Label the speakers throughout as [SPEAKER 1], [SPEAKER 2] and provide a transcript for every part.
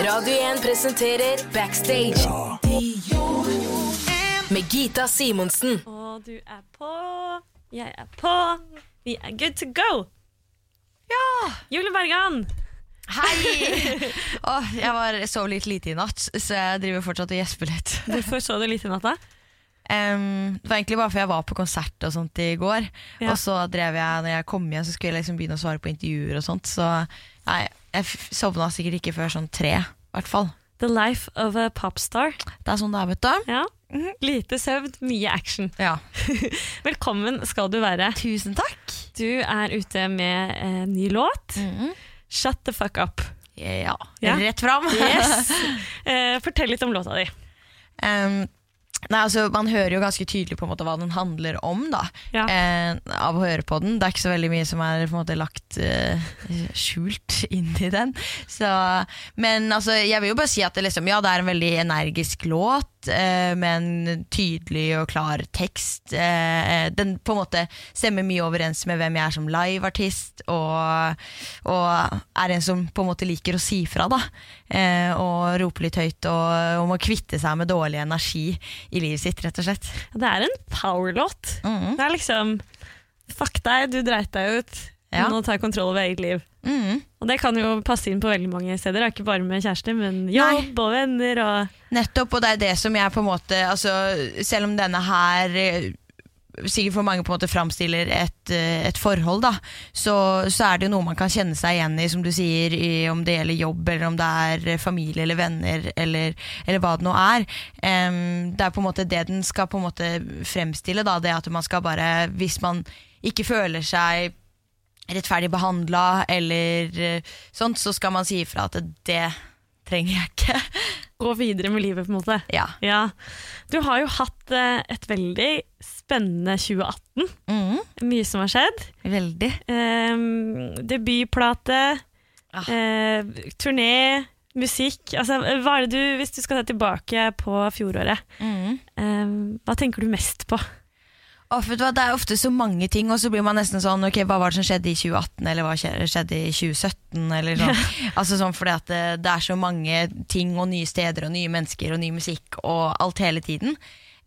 [SPEAKER 1] Radio 1 presenterer Backstage med Gita Simonsen.
[SPEAKER 2] Og du er på, jeg er på, vi er good to go! Ja! Julie Bergan!
[SPEAKER 3] Hei! Åh, jeg var, sov litt lite i natt, så jeg driver fortsatt og gjesper litt.
[SPEAKER 2] Hvorfor så du lite i natta?
[SPEAKER 3] Em, det var egentlig bare for jeg var på konsert og sånt i går.
[SPEAKER 2] Ja.
[SPEAKER 3] Og så drev jeg, når jeg kom hjem, så skulle jeg liksom begynne å svare på intervjuer og sånt. Så nei, jeg f- sovna sikkert ikke før sånn tre, i hvert fall.
[SPEAKER 2] The life of a popstar.
[SPEAKER 3] Det er sånn det er, vet du.
[SPEAKER 2] Ja. Lite søvn, mye action.
[SPEAKER 3] Ja.
[SPEAKER 2] Velkommen skal du være.
[SPEAKER 3] Tusen takk.
[SPEAKER 2] Du er ute med eh, ny låt. Shut the fuck up.
[SPEAKER 3] Ja.
[SPEAKER 2] Mm-hmm. Ja.
[SPEAKER 3] Rett fram.
[SPEAKER 2] Yes! eh, fortell litt om låta di.
[SPEAKER 3] Em, nei, altså, man hører jo ganske tydelig på en måte hva den handler om, da.
[SPEAKER 2] Ja.
[SPEAKER 3] eh, av å høre på den. Det er ikke så veldig mye som er på en måte lagt eh, skjult inn i den. Så, men altså, jeg vil jo bare si at det, liksom, ja, det er en veldig energisk låt, eh, med en tydelig og klar tekst. Eh, den på en måte stemmer mye overens med hvem jeg er som liveartist, og, og er en som på en måte liker å si fra, da. Eh, og rope litt høyt, og, og må kvitte seg med dårlig energi i livet sitt, rett og slett.
[SPEAKER 2] Det er en power-låt. Det er liksom Fuck deg, du dreit deg ut.
[SPEAKER 3] Ja.
[SPEAKER 2] Nå tar jeg kontroll over eget liv.
[SPEAKER 3] Mhm.
[SPEAKER 2] Og det kan jo passe inn på veldig mange steder, da. ikke bare med kjærester, men jobb og venner og
[SPEAKER 3] Nettopp, og det er det som jeg på en måte altså, Selv om denne her eh, sikkert for mange på en måte framstiller et, eh, et forhold, da, så, så er det jo noe man kan kjenne seg igjen i, som du sier, i, om det gjelder jobb, eller om det er eh, familie eller venner, eller, eller hva det nå er. Em, det er på en måte det den skal på en måte fremstille, da, det at man skal bare Hvis man ikke føler seg rettferdig behandla eller eh, sånt, så skal man si ifra at det trenger jeg ikke.
[SPEAKER 2] gå videre med livet, på en måte.
[SPEAKER 3] Ja.
[SPEAKER 2] Ja. Du har jo hatt eh, et veldig spennende 2018.
[SPEAKER 3] Mhm.
[SPEAKER 2] Mye som har skjedd.
[SPEAKER 3] Veldig.
[SPEAKER 2] Ehm, debutplate,
[SPEAKER 3] Ah.
[SPEAKER 2] eh, turné, musikk. Altså, hva er det du, hvis du skal se tilbake på fjoråret, ehm, hva tenker du mest på?
[SPEAKER 3] Å, vet du hva, det er ofte så mange ting, og så blir man nesten sånn Ok, hva var det som skjedde i 2018, eller hva skje- skjedde i 2017, eller sånn. altså sånn fordi at det, det er så mange ting og nye steder og nye mennesker og ny musikk og alt hele tiden.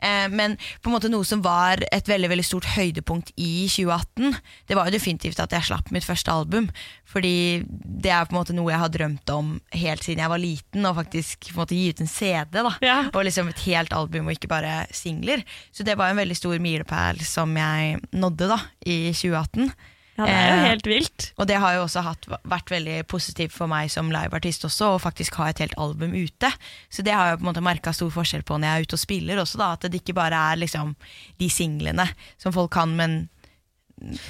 [SPEAKER 3] Eh, men på en måte noe som var et veldig veldig stort høydepunkt i 2018, det var jo definitivt at jeg slapp mitt første album. Fordi det er på en måte noe jeg har drømt om helt siden jeg var liten, og faktisk på en måte gi ut en CD. da
[SPEAKER 2] Ja.
[SPEAKER 3] og liksom et helt album og ikke bare singler. Så det var en veldig stor milepæl som jeg nådde da, i 2018.
[SPEAKER 2] Ja, det er jo
[SPEAKER 3] Eh,
[SPEAKER 2] helt vilt.
[SPEAKER 3] Og det har jo også hatt, vært veldig positivt for meg som liveartist også, å faktisk ha et helt album ute. Så det har jeg på en måte merka stor forskjell på når jeg er ute og spiller også, da, at det ikke bare er liksom de singlene som folk kan, men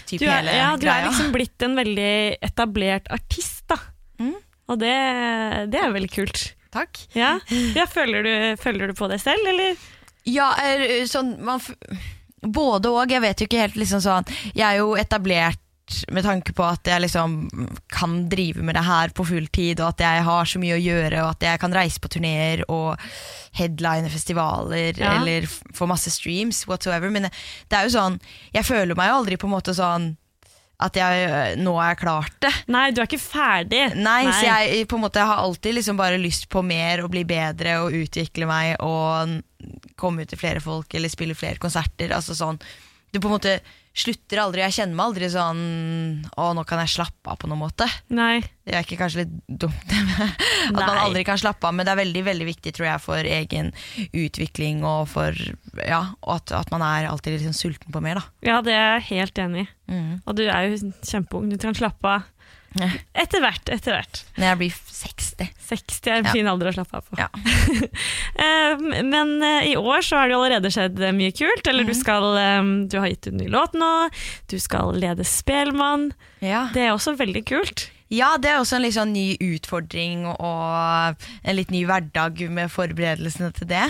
[SPEAKER 3] typ
[SPEAKER 2] Du er,
[SPEAKER 3] hele
[SPEAKER 2] ja, du er
[SPEAKER 3] greia.
[SPEAKER 2] liksom blitt en veldig etablert artist, da.
[SPEAKER 3] Mm.
[SPEAKER 2] Og det, det er veldig kult.
[SPEAKER 3] Takk.
[SPEAKER 2] Ja, ja føler, du, føler du på det selv, eller?
[SPEAKER 3] Ja, er, sånn man, f- Både og. Jeg vet jo ikke helt liksom sånn Jeg er jo etablert med tanke på at jeg liksom kan drive med det her på full tid, og at jeg har så mye å gjøre, og at jeg kan reise på turneer og headline festivaler
[SPEAKER 2] Ja.
[SPEAKER 3] eller f- få masse streams, whatsoever. Men det er jo sånn Jeg føler meg jo aldri på en måte sånn at jeg øh, nå har jeg klart det.
[SPEAKER 2] Nei, du er ikke ferdig.
[SPEAKER 3] Nei, så jeg på en måte har alltid liksom bare lyst på mer og bli bedre og utvikle meg og n- komme ut til flere folk eller spille flere konserter. Altså sånn. Du på en måte slutter aldri. Jeg kjenner meg aldri sånn Å, nå kan jeg slappe av på noen måte.
[SPEAKER 2] Nei.
[SPEAKER 3] Det er ikke kanskje litt dumt at man
[SPEAKER 2] Nei.
[SPEAKER 3] aldri kan slappe av, men det er veldig veldig viktig tror jeg, for egen utvikling og for ja, og at, at man er alltid liksom sulten på mer. da.
[SPEAKER 2] Ja, det er jeg helt enig i.
[SPEAKER 3] Mm.
[SPEAKER 2] Og du er jo kjempeung, du kan slappe av.
[SPEAKER 3] Ja.
[SPEAKER 2] Etter hvert, etter hvert.
[SPEAKER 3] Når jeg blir 60.
[SPEAKER 2] 60 er en
[SPEAKER 3] Ja.
[SPEAKER 2] fin alder å slappe av på.
[SPEAKER 3] Ja.
[SPEAKER 2] Eh, men eh, i år så har det jo allerede skjedd eh, mye kult. Eller
[SPEAKER 3] Mhm.
[SPEAKER 2] du skal eh, Du har gitt ut en ny låt nå. Du skal lede Spelmann.
[SPEAKER 3] Ja.
[SPEAKER 2] Det er også veldig kult.
[SPEAKER 3] Ja, det er også en litt sånn ny utfordring og en litt ny hverdag med forberedelsene til det.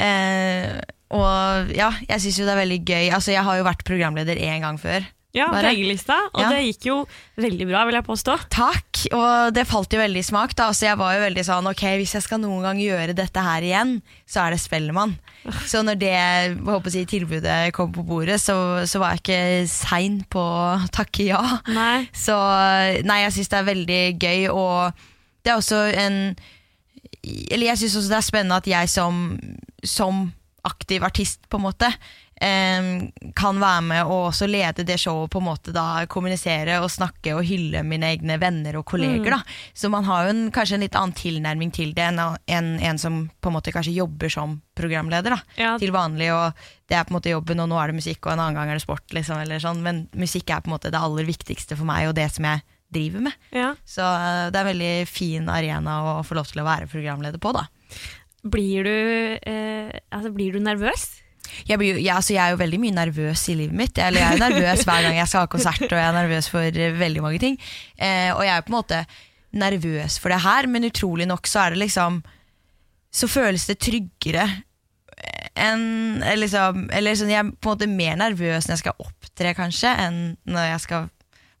[SPEAKER 3] Eh, og ja, jeg syns jo det er veldig gøy. Altså, jeg har jo vært programleder én gang før.
[SPEAKER 2] Ja,
[SPEAKER 3] Bare-
[SPEAKER 2] VG-lista. Og
[SPEAKER 3] Ja.
[SPEAKER 2] det gikk jo veldig bra, vil jeg påstå.
[SPEAKER 3] Takk, og det falt jo veldig i smak. Da. Så jeg var jo veldig sånn Ok, hvis jeg skal noen gang gjøre dette her igjen, så er det Spellemann. Så når det jeg håper å si, tilbudet kom på bordet, så, så var jeg ikke sein på å takke ja.
[SPEAKER 2] Nei.
[SPEAKER 3] Så nei, jeg syns det er veldig gøy, og det er også en Eller jeg syns også det er spennende at jeg som, som aktiv artist, på en måte, em, kan være med og også lede det showet, på en måte da kommunisere og snakke og hylle mine egne venner og kolleger. da. Så man har jo en, kanskje en litt annen tilnærming til det enn enn en som på en måte kanskje jobber som programleder. da
[SPEAKER 2] Ja.
[SPEAKER 3] til vanlig, og det er på en måte jobben, og nå er det musikk, og en annen gang er det sport, liksom, eller sånn. Men musikk er på en måte det aller viktigste for meg, og det som jeg driver med.
[SPEAKER 2] Ja.
[SPEAKER 3] Så eh, det er en veldig fin arena å få lov til å være programleder på, da.
[SPEAKER 2] Blir du, eh, altså, blir du nervøs?
[SPEAKER 3] Jeg, blir, jo- jeg, altså, jeg er jo veldig mye nervøs i livet mitt. Eller jeg er nervøs hver gang jeg skal ha konsert, og jeg er nervøs for eh, veldig mange ting. Eh, og jeg er på en måte nervøs for det her, men utrolig nok så er det liksom Så føles det tryggere enn eller liksom, Eller sånn, jeg er på en måte mer nervøs når jeg skal opptre, kanskje, enn når jeg skal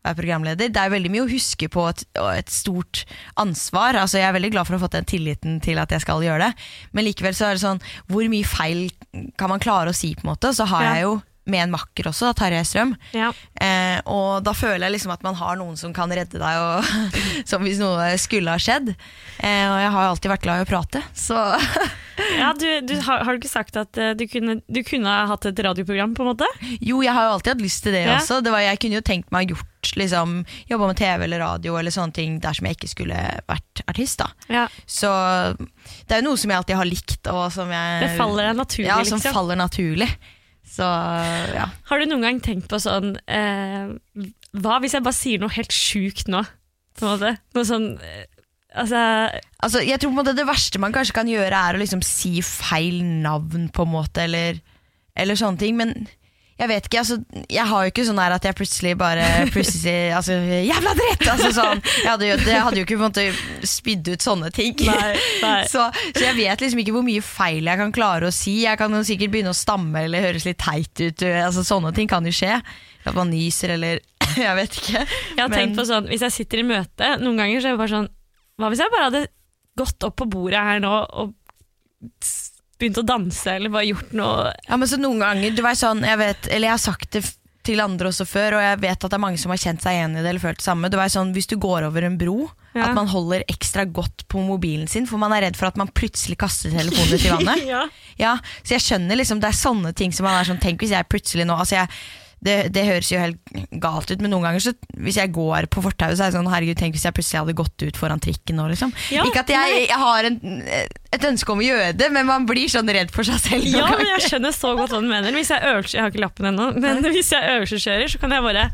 [SPEAKER 3] være programleder. Det er veldig mye å huske på et, og et stort ansvar. Altså, jeg er veldig glad for å ha fått den tilliten til at jeg skal gjøre det. Men likevel så er det sånn, hvor mye feil kan man klare å si på en måte? Så har
[SPEAKER 2] Ja.
[SPEAKER 3] jeg jo med en makker også, da, Tarjei Strøm.
[SPEAKER 2] Ja.
[SPEAKER 3] Eh, og da føler jeg liksom at man har noen som kan redde deg, og, som hvis noe skulle ha skjedd. Eh, og jeg har jo alltid vært glad i å prate, så
[SPEAKER 2] Ja, du, du, har, har du ikke sagt at eh, du kunne, du kunne ha hatt et radioprogram, på en måte?
[SPEAKER 3] jo, jeg har jo alltid hatt lyst til det
[SPEAKER 2] Ja.
[SPEAKER 3] også. Det var, jeg kunne jo tenkt meg å gjort, liksom, jobba med TV eller radio eller sånne ting dersom jeg ikke skulle vært artist, da.
[SPEAKER 2] Ja.
[SPEAKER 3] Så det er jo noe som jeg alltid har likt, og som jeg
[SPEAKER 2] Det faller deg naturlig,
[SPEAKER 3] ja, som
[SPEAKER 2] liksom.
[SPEAKER 3] faller naturlig. Så ja.
[SPEAKER 2] Har du noen gang tenkt på sånn eh, Hva hvis jeg bare sier noe helt sjukt nå? På en måte. Noe sånn eh, Altså
[SPEAKER 3] Altså, jeg tror på en måte det verste man kanskje kan gjøre, er å liksom si feil navn, på en måte, eller, eller sånne ting. Men jeg vet ikke, altså, jeg har jo ikke sånn her at jeg plutselig bare plutselig sier altså, 'jævla dritt'! Altså, sånn. jeg, hadde jo, jeg hadde jo ikke på en måte spydd ut sånne ting. Så, så jeg vet liksom ikke hvor mye feil jeg kan klare å si. Jeg kan jo sikkert begynne å stamme eller høres litt teit ut. Altså, sånne ting kan jo skje. At man nyser eller Jeg vet ikke.
[SPEAKER 2] Jeg har
[SPEAKER 3] Men-
[SPEAKER 2] tenkt på sånn Hvis jeg sitter i møte noen ganger, så er det bare sånn Hva hvis jeg bare hadde gått opp på bordet her nå og s- begynt å danse, eller bare gjort noe
[SPEAKER 3] Ja, men så noen ganger, du vet sånn, jeg vet, eller jeg har sagt det f- til andre også før, og jeg vet at det er mange som har kjent seg igjen i det, eller følt det samme, du vet sånn, hvis du går over en bro,
[SPEAKER 2] Ja.
[SPEAKER 3] at man holder ekstra godt på mobilen sin, for man er redd for at man plutselig kaster telefonen ut i vannet.
[SPEAKER 2] Ja.
[SPEAKER 3] Ja, så jeg skjønner liksom, det er sånne ting som man er sånn, tenk hvis jeg plutselig nå, altså jeg, det, det høres jo helt galt ut, men noen ganger så, hvis jeg går på fortauet, så er det sånn, herregud, tenk hvis jeg plutselig hadde gått ut foran trikken nå, liksom.
[SPEAKER 2] Ja,
[SPEAKER 3] Ikke at jeg, jeg har en, et ønske om å gjøre det, men man blir sånn redd for seg selv noen
[SPEAKER 2] Ja,
[SPEAKER 3] ganger.
[SPEAKER 2] men jeg skjønner så godt hva du mener. Hvis jeg øvelse, jeg har ikke lappen ennå, men hvis jeg øvelseskjører, så kan jeg bare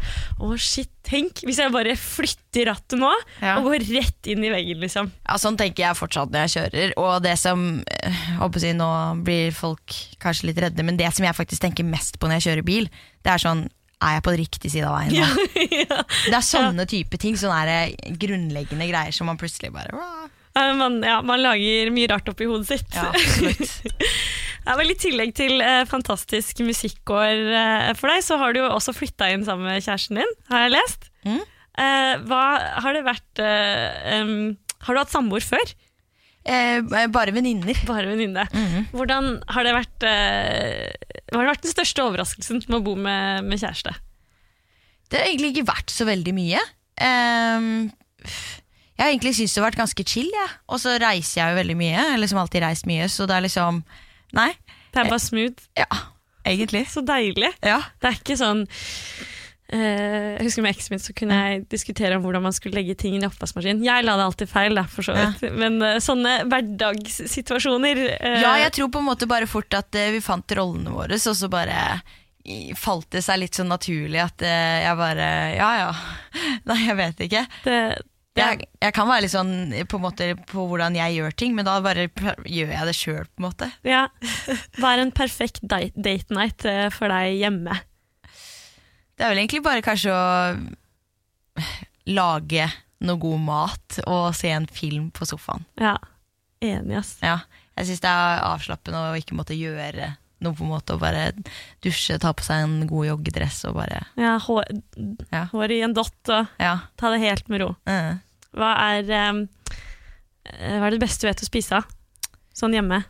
[SPEAKER 2] Å, shit, tenk hvis jeg bare flytter rattet nå
[SPEAKER 3] Ja.
[SPEAKER 2] og går rett inn i veggen, liksom.
[SPEAKER 3] Ja, Sånn tenker jeg fortsatt når jeg kjører. Og det som eh, håper jeg, å si, Nå blir folk kanskje litt redde, men det som jeg faktisk tenker mest på når jeg kjører bil, det er sånn Er jeg på riktig side av veien? nå?
[SPEAKER 2] ja.
[SPEAKER 3] Det er sånne type ting. Sånne der, eh, grunnleggende greier som man plutselig bare «Wah».
[SPEAKER 2] Eh, Man, ja, man lager mye rart oppi hodet sitt.
[SPEAKER 3] Ja, absolutt.
[SPEAKER 2] Ja, vel, I tillegg til eh, fantastisk musikkår eh, for deg, så har du jo også flytta inn sammen med kjæresten din, har jeg lest.
[SPEAKER 3] Mm.
[SPEAKER 2] Eh, hva har det vært eh, em, Har du hatt samboer før?
[SPEAKER 3] Eh, bare venninner.
[SPEAKER 2] Bare venninne.
[SPEAKER 3] Mhm.
[SPEAKER 2] Hvordan har det vært eh, Hva har vært den største overraskelsen med å bo med, med kjæreste?
[SPEAKER 3] Det har egentlig ikke vært så veldig mye. Ehm, jeg har egentlig syntes det har vært ganske chill, jeg. Og så reiser jeg jo veldig mye. Jeg har liksom alltid reist mye, så det er liksom Nei.
[SPEAKER 2] Det er bare smooth.
[SPEAKER 3] Ja, egentlig.
[SPEAKER 2] Så deilig.
[SPEAKER 3] Ja.
[SPEAKER 2] Det er ikke sånn eh, jeg husker Med eksen min så kunne jeg diskutere om hvordan man skulle legge ting inn i oppvaskmaskinen. Jeg la det alltid feil, da, for så vidt. Men eh, sånne hverdagssituasjoner eh,
[SPEAKER 3] Ja, jeg tror på en måte bare fort at eh, vi fant rollene våre, og så bare i- falt det seg litt sånn naturlig at eh, jeg bare Ja ja. Nei, jeg vet ikke.
[SPEAKER 2] det, det er,
[SPEAKER 3] Jeg, jeg kan være litt sånn på, en måte, på hvordan jeg gjør ting, men da bare pr- gjør jeg det sjøl, på en måte.
[SPEAKER 2] ja. Hva er en perfekt di- date night eh, for deg hjemme?
[SPEAKER 3] Det er vel egentlig bare kanskje å lage noe god mat og se en film på sofaen.
[SPEAKER 2] Ja, Enig, ass.
[SPEAKER 3] Ja. Jeg syns det er avslappende å ikke måtte gjøre noe, på en måte. Og bare dusje, ta på seg en god joggedress og bare
[SPEAKER 2] Ja, hår,
[SPEAKER 3] Ja.
[SPEAKER 2] hår i en dott og
[SPEAKER 3] Ja.
[SPEAKER 2] ta det helt med ro.
[SPEAKER 3] Mm.
[SPEAKER 2] Hva er, eh, hva er det beste du vet å spise av? Sånn hjemme.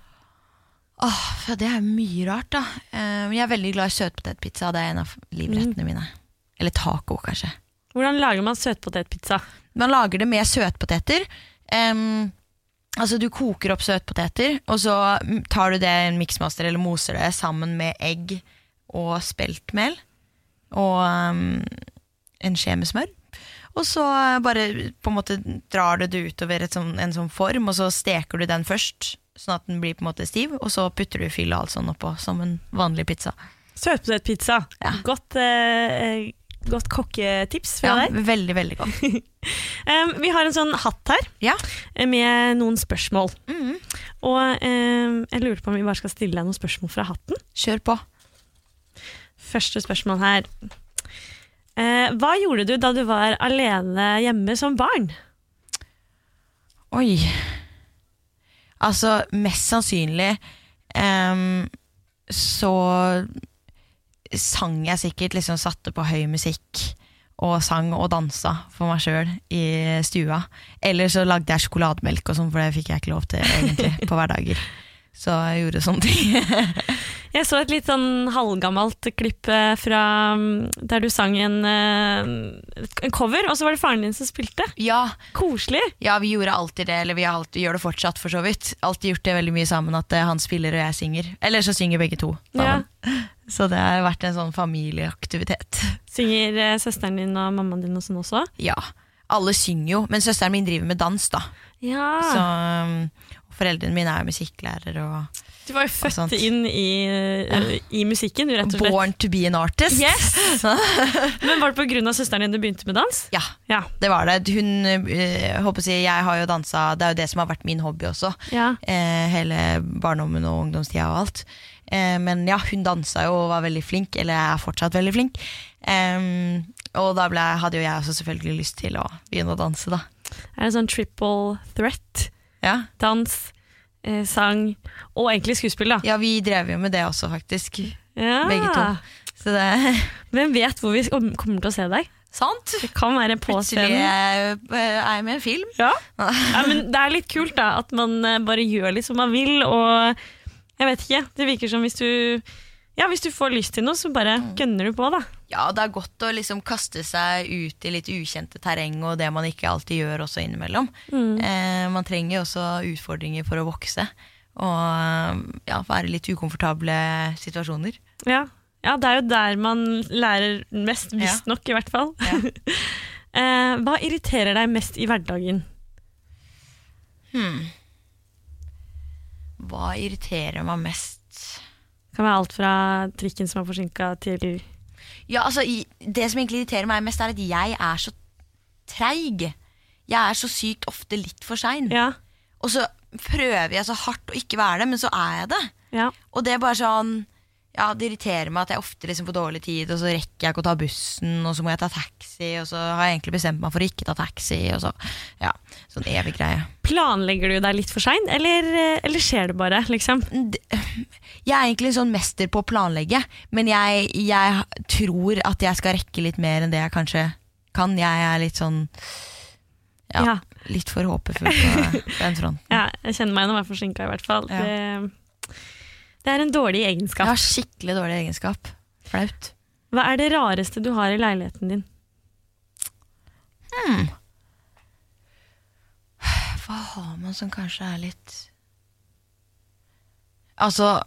[SPEAKER 3] Åh, ja, det er mye rart, da. Eh, Men jeg er veldig glad i søtpotetpizza. Det er en av livrettene mine. Eller taco, kanskje.
[SPEAKER 2] Hvordan lager man søtpotetpizza?
[SPEAKER 3] Man lager det med søtpoteter. em, Altså Du koker opp søtpoteter, og så mm, tar du det i en miksmaster eller moser det sammen med egg og speltmel og um, en skje med smør. Og så bare på en måte drar du det utover et sånn, en sånn form, og så steker du den først, sånn at den blir på en måte stiv, og så putter du fyll og alt sånn oppå, som en vanlig pizza.
[SPEAKER 2] Søtpotetpizza. Godt, eh, godt kokketips fra
[SPEAKER 3] Ja,
[SPEAKER 2] deg.
[SPEAKER 3] veldig, veldig godt.
[SPEAKER 2] Em, vi har en sånn hatt her
[SPEAKER 3] Ja.
[SPEAKER 2] eh, med noen spørsmål.
[SPEAKER 3] Mhm.
[SPEAKER 2] Og em, jeg lurer på om vi bare skal stille deg noen spørsmål fra hatten.
[SPEAKER 3] Kjør på.
[SPEAKER 2] Første spørsmål her. Eh, hva gjorde du da du var alene hjemme som barn?
[SPEAKER 3] Oi. Altså, mest sannsynlig ehm, så sang jeg sikkert, liksom satte på høy musikk og sang og dansa for meg sjøl i stua. Eller så lagde jeg sjokolademelk og sånn, for det fikk jeg ikke lov til egentlig på hverdager. Så jeg gjorde sånne ting.
[SPEAKER 2] Jeg så et litt sånn halvgammelt klipp eh, fra mm, der du sang en, eh, en cover, og så var det faren din som spilte.
[SPEAKER 3] ja,
[SPEAKER 2] Koselig!
[SPEAKER 3] Ja, vi gjorde alltid det, eller vi har alltid, gjør det fortsatt for så vidt. Alltid gjort det veldig mye sammen, at eh, han spiller og jeg synger. Eller så synger begge to sammen. Så det har vært en sånn familieaktivitet.
[SPEAKER 2] Synger eh, søsteren din og mammaen din og sånn også?
[SPEAKER 3] Ja, alle synger jo, men søsteren min driver med dans da.
[SPEAKER 2] Ja.
[SPEAKER 3] Så, um, og foreldrene mine er jo musikklærer og
[SPEAKER 2] du var jo
[SPEAKER 3] sant.
[SPEAKER 2] født inn i, eh, i musikken, du, rett og slett.
[SPEAKER 3] born to be an artist.
[SPEAKER 2] Yes! Men var det på grunn av søsteren din du begynte med dans?
[SPEAKER 3] Ja,
[SPEAKER 2] Ja.
[SPEAKER 3] det var det. Hun, eh, håper å si, jeg har jo dansa, det er jo det som har vært min hobby også.
[SPEAKER 2] ja.
[SPEAKER 3] eh, hele barndommen og ungdomstida og alt. Eh, men ja, hun dansa jo og var veldig flink, eller er fortsatt veldig flink. Em, og da ble, hadde jo jeg også selvfølgelig lyst til å begynne å danse, da.
[SPEAKER 2] Er det sånn triple threat?
[SPEAKER 3] Ja,
[SPEAKER 2] Dans, eh, sang og egentlig skuespill, da.
[SPEAKER 3] ja vi drev jo med det også, faktisk.
[SPEAKER 2] Ja.
[SPEAKER 3] Begge to. Så det
[SPEAKER 2] Hvem vet hvor vi kom- kommer til å se deg?
[SPEAKER 3] Sant!
[SPEAKER 2] Det kan være på
[SPEAKER 3] Plutselig
[SPEAKER 2] scenen.
[SPEAKER 3] eh, er jeg med i en film.
[SPEAKER 2] Ja. men det er litt kult da, at man eh, bare gjør litt som man vil, og jeg vet ikke, det virker som hvis du, ja, hvis du får lyst til noe, så bare gønner du på da.
[SPEAKER 3] Ja, det er godt å liksom kaste seg ut i litt ukjente terreng og det man ikke alltid gjør også innimellom.
[SPEAKER 2] Mm.
[SPEAKER 3] Eh, man trenger jo også utfordringer for å vokse og eh, ja, være litt ukomfortable situasjoner.
[SPEAKER 2] Ja. ja, det er jo der man lærer mest, visst nok i hvert fall.
[SPEAKER 3] Ja.
[SPEAKER 2] Eh, Hva irriterer deg mest i hverdagen?
[SPEAKER 3] Hva irriterer meg mest?
[SPEAKER 2] Det kan være alt fra trikken som er forsinket til...
[SPEAKER 3] Ja, altså, i- det som egentlig irriterer meg mest, er at jeg er så treig. Jeg er så sykt ofte litt for sein.
[SPEAKER 2] Ja,
[SPEAKER 3] Og så prøver jeg så hardt å ikke være det, men så er jeg det.
[SPEAKER 2] ja.
[SPEAKER 3] Og det er bare sånn ja, Det irriterer meg at jeg ofte liksom får dårlig tid, og så rekker jeg ikke å ta bussen, og så må jeg ta taxi, og så har jeg egentlig bestemt meg for å ikke ta taxi. Og så, ja, Sånn evig greie.
[SPEAKER 2] Planlegger du deg litt for sent, eller, eh, eller skjer det bare, liksom?
[SPEAKER 3] Jeg er egentlig en sånn mester på å planlegge, men jeg, jeg tror at jeg skal rekke litt mer enn det jeg kanskje kan. Jeg er litt sånn Ja.
[SPEAKER 2] ja.
[SPEAKER 3] litt for håpefull på den fronten.
[SPEAKER 2] Ja, jeg kjenner meg når jeg er forsinka, i hvert fall.
[SPEAKER 3] Ja.
[SPEAKER 2] Det, det er en dårlig
[SPEAKER 3] Jeg
[SPEAKER 2] egenskap.
[SPEAKER 3] har skikkelig dårlig egenskap. Flaut.
[SPEAKER 2] Hva er det rareste du har i leiligheten din?
[SPEAKER 3] Hva har man som kanskje er litt Altså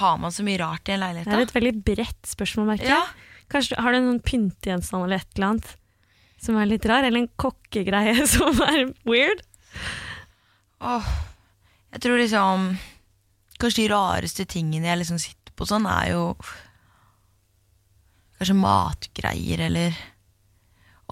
[SPEAKER 3] Har man så mye rart i en leilighet,
[SPEAKER 2] Det er
[SPEAKER 3] da?
[SPEAKER 2] et veldig bredt spørsmål, merker jeg.
[SPEAKER 3] Ja.
[SPEAKER 2] Kanskje Har du en sånn pyntegjenstand eller et eller annet som er litt rar? Eller en kokkegreie som er weird?
[SPEAKER 3] Åh, jeg tror liksom Kanskje de rareste tingene jeg liksom sitter på sånn, er jo Kanskje matgreier eller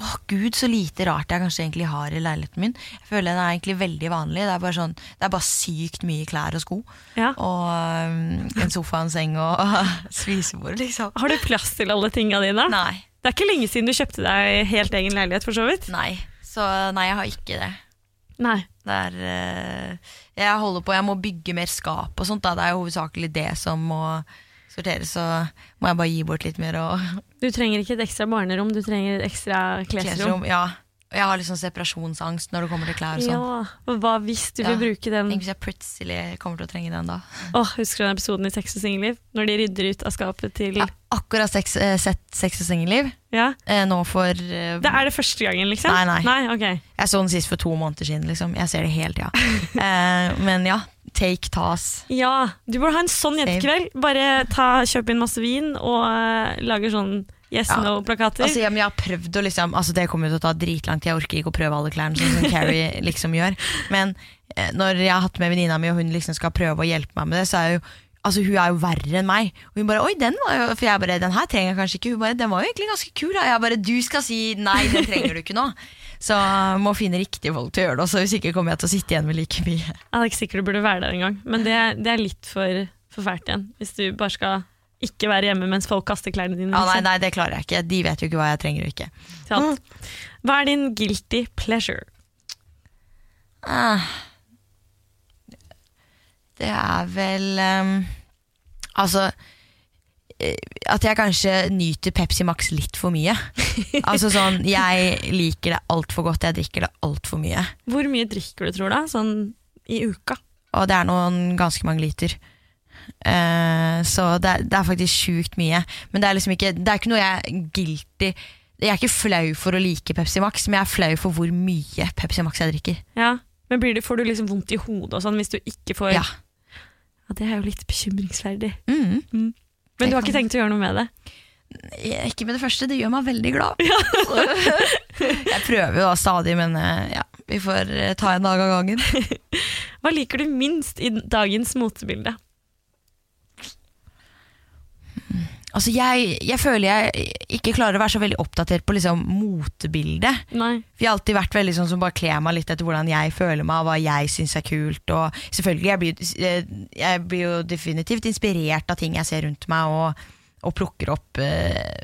[SPEAKER 3] Åh, gud, så lite rart jeg kanskje egentlig har i leiligheten min. Jeg føler den er egentlig veldig vanlig. Det er bare, sånn, det er bare sykt mye klær og sko.
[SPEAKER 2] Ja.
[SPEAKER 3] Og øhm, en sofa, en seng og spisebord, liksom.
[SPEAKER 2] Har du plass til alle tinga dine?
[SPEAKER 3] Nei.
[SPEAKER 2] Det er ikke lenge siden du kjøpte deg helt egen leilighet, for så vidt.
[SPEAKER 3] Nei. Så nei, jeg har ikke det.
[SPEAKER 2] Nei.
[SPEAKER 3] Det er, eh, jeg holder på, jeg må bygge mer skap og sånt. Da. Det er jo hovedsakelig det som må sorteres. Så må jeg bare gi bort litt mer og
[SPEAKER 2] Du trenger ikke et ekstra barnerom, du trenger et ekstra klesrom.
[SPEAKER 3] Ja. Jeg har litt sånn separasjonsangst når det kommer til klær. og sånn
[SPEAKER 2] Ja, og Hva hvis du vil
[SPEAKER 3] Ja.
[SPEAKER 2] bruke den
[SPEAKER 3] Tenk hvis jeg plutselig kommer til å trenge den da.
[SPEAKER 2] Åh, Husker du den episoden i Sex og singelliv? Når de rydder ut av skapet til
[SPEAKER 3] Jeg har akkurat sex, eh, sett Sex og singelliv
[SPEAKER 2] Ja.
[SPEAKER 3] eh, nå for eh,
[SPEAKER 2] Det er det første gangen, liksom?
[SPEAKER 3] Nei, nei.
[SPEAKER 2] nei ok.
[SPEAKER 3] Jeg så den sist for to måneder siden, liksom. Jeg ser det hele tida. eh, men ja, take tas.
[SPEAKER 2] Ja, du burde ha en sånn
[SPEAKER 3] Same.
[SPEAKER 2] jentekveld. Bare ta, kjøp inn masse vin og eh, lage sånn yes
[SPEAKER 3] Ja.
[SPEAKER 2] no-plakater.
[SPEAKER 3] Altså, ja, men jeg har prøvd å liksom altså, Det kommer jo til å ta dritlang tid. Jeg orker ikke å prøve alle klærne, sånn som Carrie liksom gjør. Men eh, når jeg har hatt med venninna mi, og hun liksom skal prøve å hjelpe meg med det, så er jo Altså, Hun er jo verre enn meg. Og hun bare, oi, den var jo For jeg bare, den her trenger jeg kanskje ikke. Hun bare, den var jo egentlig ganske kul. Da. Jeg bare, du skal si nei, den trenger du ikke nå. Så jeg må finne riktige folk til å gjøre det. Og hvis ikke kommer jeg til å sitte igjen med like mye.
[SPEAKER 2] Jeg er ikke sikker du burde være der engang, men det, er- det er litt for, for fælt igjen. Hvis du bare skal ikke være hjemme mens folk kaster klærne dine.
[SPEAKER 3] Ja, nei,
[SPEAKER 2] liksom,
[SPEAKER 3] nei, det klarer jeg ikke. De vet jo ikke hva jeg trenger og ikke.
[SPEAKER 2] til alt. Hva er din guilty pleasure?
[SPEAKER 3] Ah. Det er vel ehm, Altså eh, at jeg kanskje nyter Pepsi Max litt for mye. altså sånn, Jeg liker det altfor godt, jeg drikker det altfor mye.
[SPEAKER 2] Hvor mye drikker du, tror du? da? Sånn i uka?
[SPEAKER 3] Og det er noen ganske mange liter. Eh, så det er, det er faktisk sjukt mye. Men det er liksom ikke Det er ikke noe jeg er guilty Jeg er ikke flau for å like Pepsi Max, men jeg er flau for hvor mye Pepsi Max jeg drikker.
[SPEAKER 2] Ja. Men blir det, får du liksom vondt i hodet og sånn hvis du ikke får
[SPEAKER 3] Ja.
[SPEAKER 2] Ja, Det er jo litt bekymringsverdig.
[SPEAKER 3] Mm.
[SPEAKER 2] Men
[SPEAKER 3] Det
[SPEAKER 2] du har ikke
[SPEAKER 3] kan-
[SPEAKER 2] tenkt å gjøre noe med det?
[SPEAKER 3] Jeg- Ikke med det første, det gjør meg veldig glad. jeg prøver jo da stadig, men eh, ja, vi får eh, ta en dag av gangen.
[SPEAKER 2] Hva liker du minst i dagens motebilde?
[SPEAKER 3] Altså jeg, jeg føler jeg ikke klarer å være så veldig oppdatert på liksom motebildet.
[SPEAKER 2] Nei.
[SPEAKER 3] For Jeg har alltid vært veldig sånn som bare kler meg litt etter hvordan jeg føler meg, og hva jeg syns er kult. Og selvfølgelig, jeg blir, eh, jeg blir jo definitivt inspirert av ting jeg ser rundt meg, og, og plukker opp eh,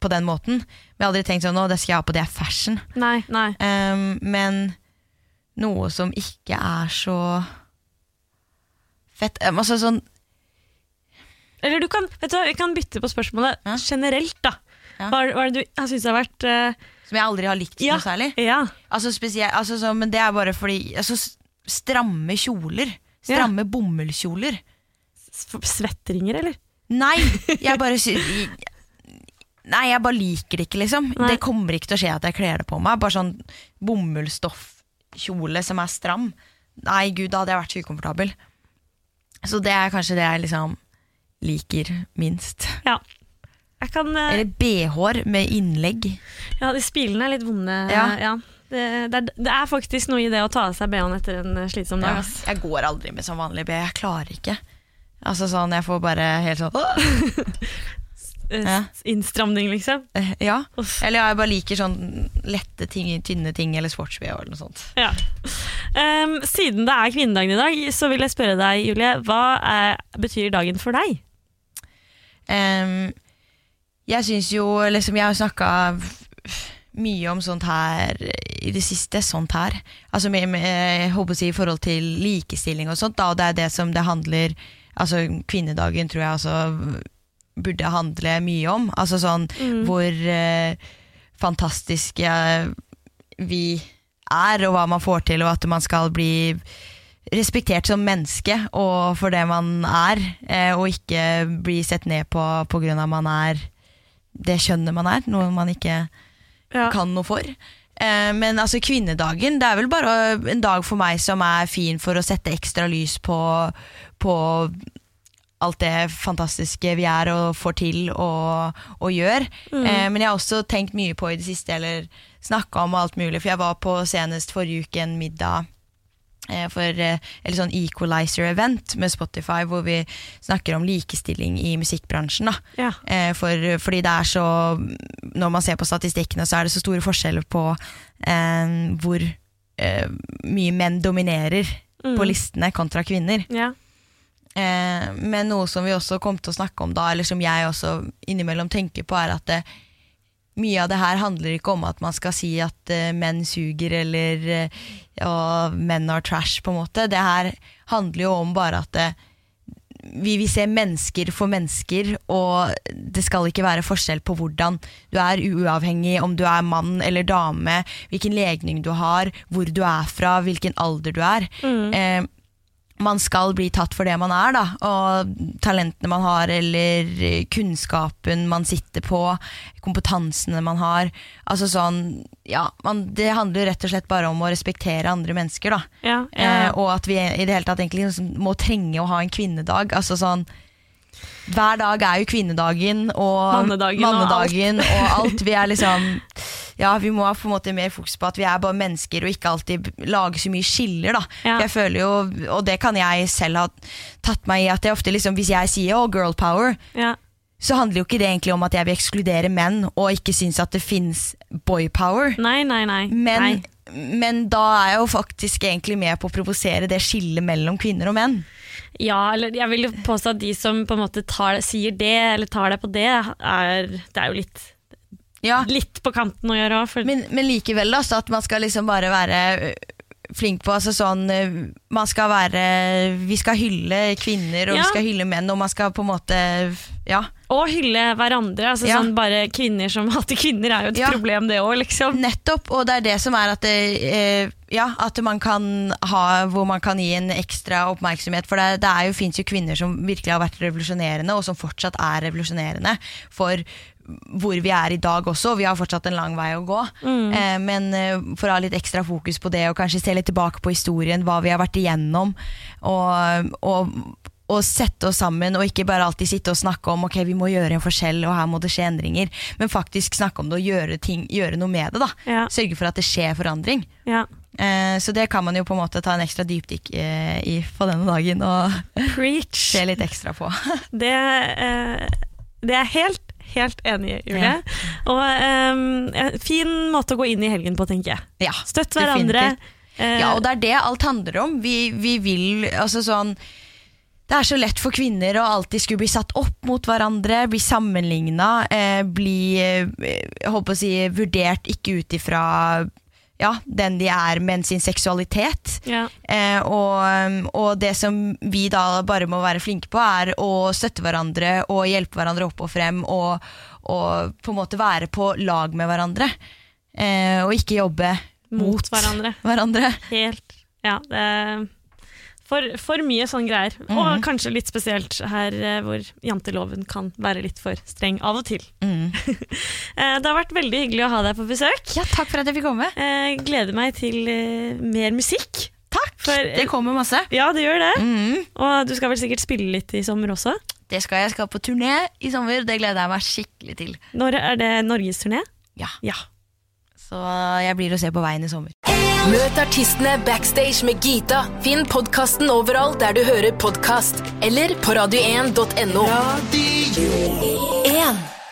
[SPEAKER 3] på den måten. Men jeg har aldri tenkt sånn nå, det skal jeg ha på, det er fashion.
[SPEAKER 2] Nei, nei.
[SPEAKER 3] Ehm, men noe som ikke er så fett Ehm, altså, sånn,
[SPEAKER 2] Eller du kan, vet du, hva, vi kan bytte på spørsmålet
[SPEAKER 3] Ja.
[SPEAKER 2] generelt, da.
[SPEAKER 3] Ja.
[SPEAKER 2] Hva, er- hva er det du har syntes har vært eh,
[SPEAKER 3] Som jeg aldri har likt
[SPEAKER 2] Ja.
[SPEAKER 3] noe særlig.
[SPEAKER 2] Ja.
[SPEAKER 3] Altså, spesielt, altså, sånn, men det er bare fordi altså, s- Stramme kjoler. Stramme bomullskjoler.
[SPEAKER 2] s- Svetteringer, eller?
[SPEAKER 3] Nei, jeg bare sy Nei, jeg bare liker det ikke, liksom.
[SPEAKER 2] Nei.
[SPEAKER 3] Det kommer ikke til å skje at jeg kler det på meg. Bare sånn bomullsstoffkjole som er stram. Nei, gud, da hadde jeg vært så ukomfortabel. Så det er kanskje det jeg liksom liker minst.
[SPEAKER 2] Ja. Jeg kan eh,
[SPEAKER 3] Eller BH-er med innlegg.
[SPEAKER 2] Ja, de spilene er litt vonde.
[SPEAKER 3] Ja.
[SPEAKER 2] ja. Det, det, er, det er faktisk noe i det å ta av seg BH-en etter en eh, slitsom dag. ass.
[SPEAKER 3] Jeg går aldri med sånn vanlig BH, jeg klarer ikke. Altså sånn, Jeg får bare helt sånn «Åh!»
[SPEAKER 2] Eh,
[SPEAKER 3] Ja.
[SPEAKER 2] s- Innstramning, liksom.
[SPEAKER 3] Eh, Ja.
[SPEAKER 2] Uff.
[SPEAKER 3] Eller jeg bare liker sånn lette ting, tynne ting, eller sports-BH eller noe sånt.
[SPEAKER 2] Ja. Em, siden det er kvinnedagen i dag, så vil jeg spørre deg, Julie, hva eh, betyr dagen for deg?
[SPEAKER 3] Ehm, jeg syns jo liksom, Jeg har snakka mye om sånt her i det siste. Sånt her. Altså med, med, jeg håper å si, i forhold til likestilling og sånt, da, og det er det som det handler Altså kvinnedagen tror jeg altså burde handle mye om. Altså sånn hvor eh, fantastiske vi er, og hva man får til, og at man skal bli respektert som menneske og for det man er, eh, og ikke bli sett ned på pga. man er det kjønnet man er, noe man ikke
[SPEAKER 2] Ja.
[SPEAKER 3] kan noe for. Eh, Men altså kvinnedagen det er vel bare en dag for meg som er fin for å sette ekstra lys på, på alt det fantastiske vi er og får til og, og gjør. Eh, Men jeg har også tenkt mye på i det siste, eller snakka om alt mulig, for jeg var på senest forrige uke en middag eh, for eh, eller sånn equalizer-event med Spotify, hvor vi snakker om likestilling i musikkbransjen. da.
[SPEAKER 2] Ja.
[SPEAKER 3] Eh, For, fordi det er så Når man ser på statistikkene, så er det så store forskjeller på eh, hvor eh, mye menn dominerer på listene kontra kvinner.
[SPEAKER 2] Ja.
[SPEAKER 3] Eh, men noe som vi også kom til å snakke om da, eller som jeg også innimellom tenker på, er at det, mye av det her handler ikke om at man skal si at eh, menn suger eller eh, og menn are trash, på en måte. Det her handler jo om bare at det, eh, vi vil se mennesker for mennesker, og det skal ikke være forskjell på hvordan du er, uavhengig om du er mann eller dame, hvilken legning du har, hvor du er fra, hvilken alder du er. Eh, man skal bli tatt for det man er, da, og talentene man har, eller kunnskapen man sitter på, kompetansene man har. Altså sånn, ja, man, Det handler rett og slett bare om å respektere andre mennesker, da.
[SPEAKER 2] Ja,
[SPEAKER 3] Eh,
[SPEAKER 2] ja.
[SPEAKER 3] og at vi i det hele tatt egentlig liksom må trenge å ha en kvinnedag. Altså sånn Hver dag er jo kvinnedagen og
[SPEAKER 2] Mannedagen og
[SPEAKER 3] mannedagen og, alt. Vi er liksom Ja, vi må ha på en måte mer fokus på at vi er bare mennesker og ikke alltid b- lage så mye skiller, da.
[SPEAKER 2] Ja.
[SPEAKER 3] Jeg føler jo, og det kan jeg selv ha tatt meg i, at jeg ofte liksom Hvis jeg sier 'å, girl power',
[SPEAKER 2] ja.
[SPEAKER 3] så handler jo ikke det egentlig om at jeg vil ekskludere menn og ikke synes at det finnes boy power.
[SPEAKER 2] Nei, nei, nei. nei.
[SPEAKER 3] Men, men da er jeg jo faktisk egentlig med på å provosere det skillet mellom kvinner og menn.
[SPEAKER 2] Ja, eller jeg vil jo påstå at de som på en måte tar, sier det, eller tar deg på det, er, det er jo litt,
[SPEAKER 3] Ja,
[SPEAKER 2] litt på kanten å gjøre òg. For
[SPEAKER 3] Ah. men, men likevel, da, så at man skal liksom bare være ø, flink på altså sånn ø, Man skal være Vi skal hylle kvinner, og
[SPEAKER 2] Ja.
[SPEAKER 3] vi skal hylle menn, og man skal på en måte Ja,
[SPEAKER 2] å hylle hverandre. Altså
[SPEAKER 3] Ja.
[SPEAKER 2] sånn bare kvinner som hater kvinner, er jo et
[SPEAKER 3] Ja. Mm.
[SPEAKER 2] problem, det òg, liksom.
[SPEAKER 3] nettopp. Og det er det som er at det, ø, Ja, at man kan ha Hvor man kan gi en ekstra oppmerksomhet. For det, det er jo, fins jo kvinner som virkelig har vært revolusjonerende, og som fortsatt er revolusjonerende. For hvor vi er i dag også, og vi har fortsatt en lang vei å gå. Eh, men eh, for å ha litt ekstra fokus på det, og kanskje se litt tilbake på historien, hva vi har vært igjennom, og, og, og sette oss sammen, og ikke bare alltid sitte og snakke om ok, vi må gjøre en forskjell, og her må det skje endringer, men faktisk snakke om det og gjøre, ting, gjøre noe med det. da.
[SPEAKER 2] Ja.
[SPEAKER 3] Sørge for at det skjer forandring.
[SPEAKER 2] Ja.
[SPEAKER 3] Eh, så det kan man jo på en måte ta en ekstra dypdykk eh, i på denne dagen, og
[SPEAKER 2] Preach.
[SPEAKER 3] se litt ekstra på.
[SPEAKER 2] Det, eh, det er jeg helt, helt enig i, Julie. Og eh, en fin måte å gå inn i helgen på, tenker jeg.
[SPEAKER 3] ja,
[SPEAKER 2] Støtt hverandre. Eh,
[SPEAKER 3] definitivt. Ja, og det er det alt handler om. Vi, vi vil altså sånn det er så lett for kvinner å alltid skulle bli satt opp mot hverandre, bli sammenligna, eh, bli eh, jeg håper å si, vurdert ikke ut ifra ja, den de er, men sin seksualitet.
[SPEAKER 2] Ja.
[SPEAKER 3] Eh, og, og det som vi da bare må være flinke på, er å støtte hverandre og hjelpe hverandre opp og frem, og, og på en måte være på lag med hverandre. Eh, og ikke jobbe
[SPEAKER 2] Mot
[SPEAKER 3] mot
[SPEAKER 2] hverandre.
[SPEAKER 3] hverandre.
[SPEAKER 2] Helt. Ja, det er for, for mye sånne greier.
[SPEAKER 3] Mhm.
[SPEAKER 2] Og kanskje litt spesielt her eh, hvor janteloven kan være litt for streng av og til.
[SPEAKER 3] Mm.
[SPEAKER 2] Eh, Det har vært veldig hyggelig å ha deg på besøk.
[SPEAKER 3] Ja, takk for at jeg fikk komme.
[SPEAKER 2] Eh, Gleder meg til eh, mer musikk.
[SPEAKER 3] Takk!
[SPEAKER 2] For-
[SPEAKER 3] det kommer masse. Mm.
[SPEAKER 2] Ja, det gjør det. Og du skal vel sikkert spille litt i sommer også.
[SPEAKER 3] Det skal jeg. jeg skal på turné i sommer. Det gleder jeg meg skikkelig til.
[SPEAKER 2] Når er det norgesturné?
[SPEAKER 3] Ja,
[SPEAKER 2] Ja.
[SPEAKER 3] Så jeg blir å se på veien i sommer.
[SPEAKER 1] Møt artistene backstage med Gita. Finn podkasten overalt der du hører podkast, eller på radio1.no. Radio 1.